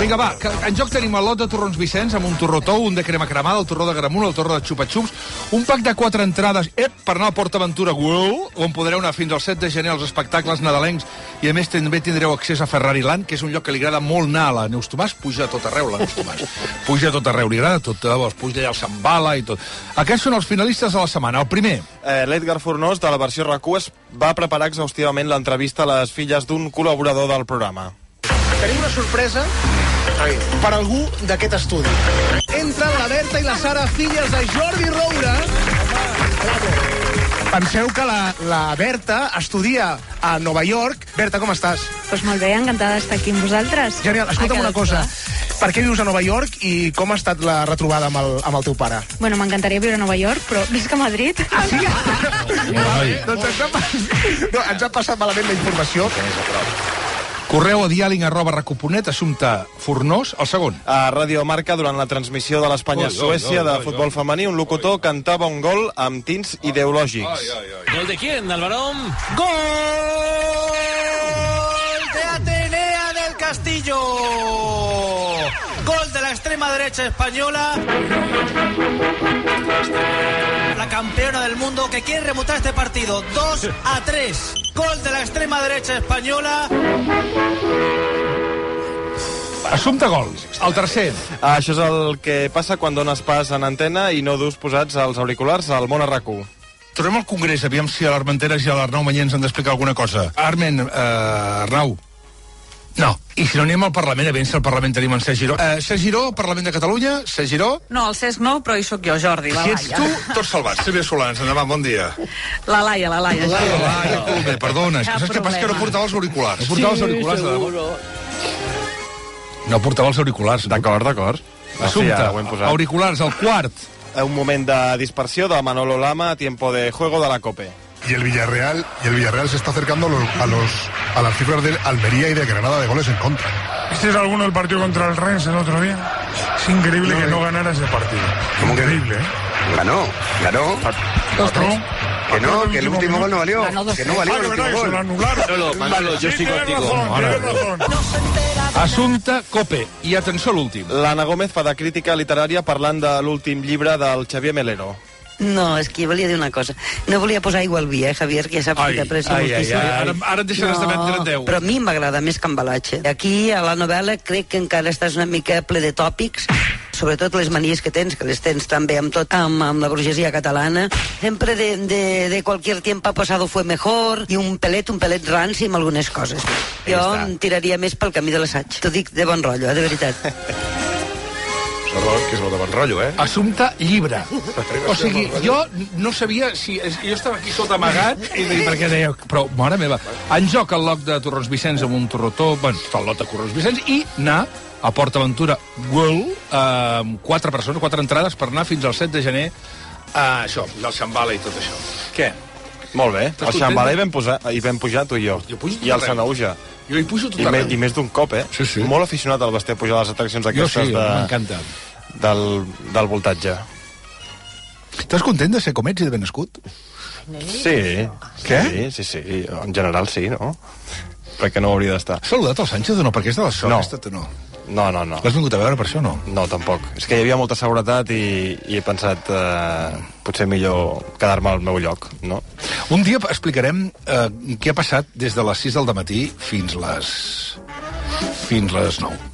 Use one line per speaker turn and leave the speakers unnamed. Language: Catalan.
Vinga, va, que en joc tenim el lot de torrons Vicenç amb un torró tou, un de crema cremada, el torró de gramunt, el torró de xupa-xups, un pack de quatre entrades ep, per anar al Port Aventura World, on podreu anar fins al 7 de gener als espectacles nadalencs i a més també tindreu accés a Ferrari Land, que és un lloc que li agrada molt anar a la Neus Tomàs, puja a tot arreu la Neus Tomàs. Puja a tot arreu, li agrada tot, eh, de bo, es puja allà al Sambala i tot. Aquests són els finalistes de la setmana. El primer,
Eh, L'Edgar Fornós, de la versió rac va preparar exhaustivament l'entrevista a les filles d'un col·laborador del programa.
Tenim una sorpresa per algú d'aquest estudi. Entren la Berta i la Sara, filles de Jordi Roura. Penseu que la, la Berta estudia a Nova York. Berta, com estàs?
Doncs molt bé, encantada d'estar aquí amb vosaltres.
Genial. Escolta'm
Ha
una
quedat
cosa.
clar.
Per què vius a Nova York i com ha estat la retrobada amb el, amb el teu pare?
Bueno, m'encantaria viure a Nova York, però visc a Madrid. Ah, sí?
Doncs ens ha, pas- no, ens ha passat malament la informació.
correu a dialing arroba racoponet, assumpte Fornós, el segon.
A Radio Marca, durant la transmissió de l'Espanya-Suècia de futbol femení, un locutor cantava un gol amb tints ideològics.
¿Gol de quién, Alvarón?
¡Gol de Atenea del Castillo! Gol de la extrema derecha española. La campeona del mundo que quiere remontar este partido. 2 a 3. Gol de la extrema derecha española.
Assumpte Gols, el tercer.
Ah, això és el que passa quan dones pas en antena i no dus posats als auriculars al món arracú.
Tornem al Congrés, aviam si l'Armenteres i l'Arnau Mañé ens han d'explicar alguna cosa. Armen, eh, Arnau. No. I si no anem al Parlament, a veure si al Parlament tenim en Sergi Giró. Eh, Sergi Giró, Parlament de Catalunya, Sergi Giró.
No, el Cesc no, però hi sóc jo, Jordi, la
Si ets
Laia.
tu, tot salvat. Silvia Solans, endavant, bon dia.
La Laia, la Laia. La Laia.
Ai, Colme, perdona, és que
Cap
saps què passa? Que no
problema.
portava els auriculars. No portava els auriculars, de debò. No portava els auriculars.
D'acord, d'acord.
Assumpte,
ara ho hem posat.
auriculars, el quart.
Un moment de dispersió de Manolo Lama a tiempo de juego de la COPE.
Y el Villarreal, y el Villarreal se está acercando a, los, a, los, a las cifras de Almería y de Granada de goles en contra.
Este es alguno del partido contra el Rennes el otro día. Es increíble que no ganara ese partido. Increíble, ¿eh?
Ganó, ganó.
Otro.
Que Ah, no, que el último gol no valió.
Ganó dos
Que no
tres.
valió
Ah,
el
de verdad,
último
que se lo
gol.
anularon.
Manolo, yo
Sí,
estoy
tienes
contigo.
razón, tienes razón.
Assumpte Cope. I atenció a l'últim.
L'Anna Gómez fa de crítica literària parlant de l'últim llibre del Xavier Melero.
No, és que jo volia dir una cosa. No volia posar aigua al vi, eh, Javier, que ja saps
Ai,
que t'aprecio
ai, ai,
moltíssim.
ai, ara- ara et deixaràs de vendre en deu.
Però a mi m'agrada més que en Balatxe. Aquí, a la novel·la, crec que encara estàs una mica ple de tòpics, sobretot les manies que tens, que les tens també amb tot, amb, amb la burgesia catalana. Sempre de, de, de qualsevol tiempo pasado fue mejor, i un pelet, un pelet ranci amb algunes coses. Jo em tiraria més pel camí de l'assaig. T'ho dic de bon rotllo, eh, de veritat.
Que és molt de bon rotllo, eh?
Assumpte llibre. O sigui, jo no sabia si... Jo estava aquí sota amagat i deia, perquè deia... Però, mare meva, en joc el loc de Torrons Vicenç amb un torrotó, bueno, tot el lot de Torrons Vicenç, i anar a Port Aventura World eh, amb quatre persones, quatre entrades per anar fins al 7 de gener a això, del Xambala i tot això. Què?
Molt bé.
Estàs
El
content? eh?
Xambala hi vam, posar, hi vam pujar tu i jo.
Jo pujo tot
I el
arreu.
Sanauja.
Jo hi pujo
I,
tot
me,
arreu.
I més d'un cop, eh?
Sí, sí.
Molt aficionat al Basté a pujar a les atraccions
Jo
aquestes
sí, de...
de,
m'encanta.
del, del voltatge.
Estàs content de ser com ets i de ben nascut?
Sí. Què? Sí, sí, sí. En general sí, no? Perquè no hauria d'estar.
Has saludat el Sánchez o no? Perquè és de la sort,
No.
aquesta, no.
No, no, no.
L'has vingut a veure per això o no?
No, tampoc. És que hi havia molta seguretat i, i he pensat eh, potser millor quedar-me al meu lloc, no?
Un dia explicarem eh, què ha passat des de les 6 del matí fins les... fins les 9.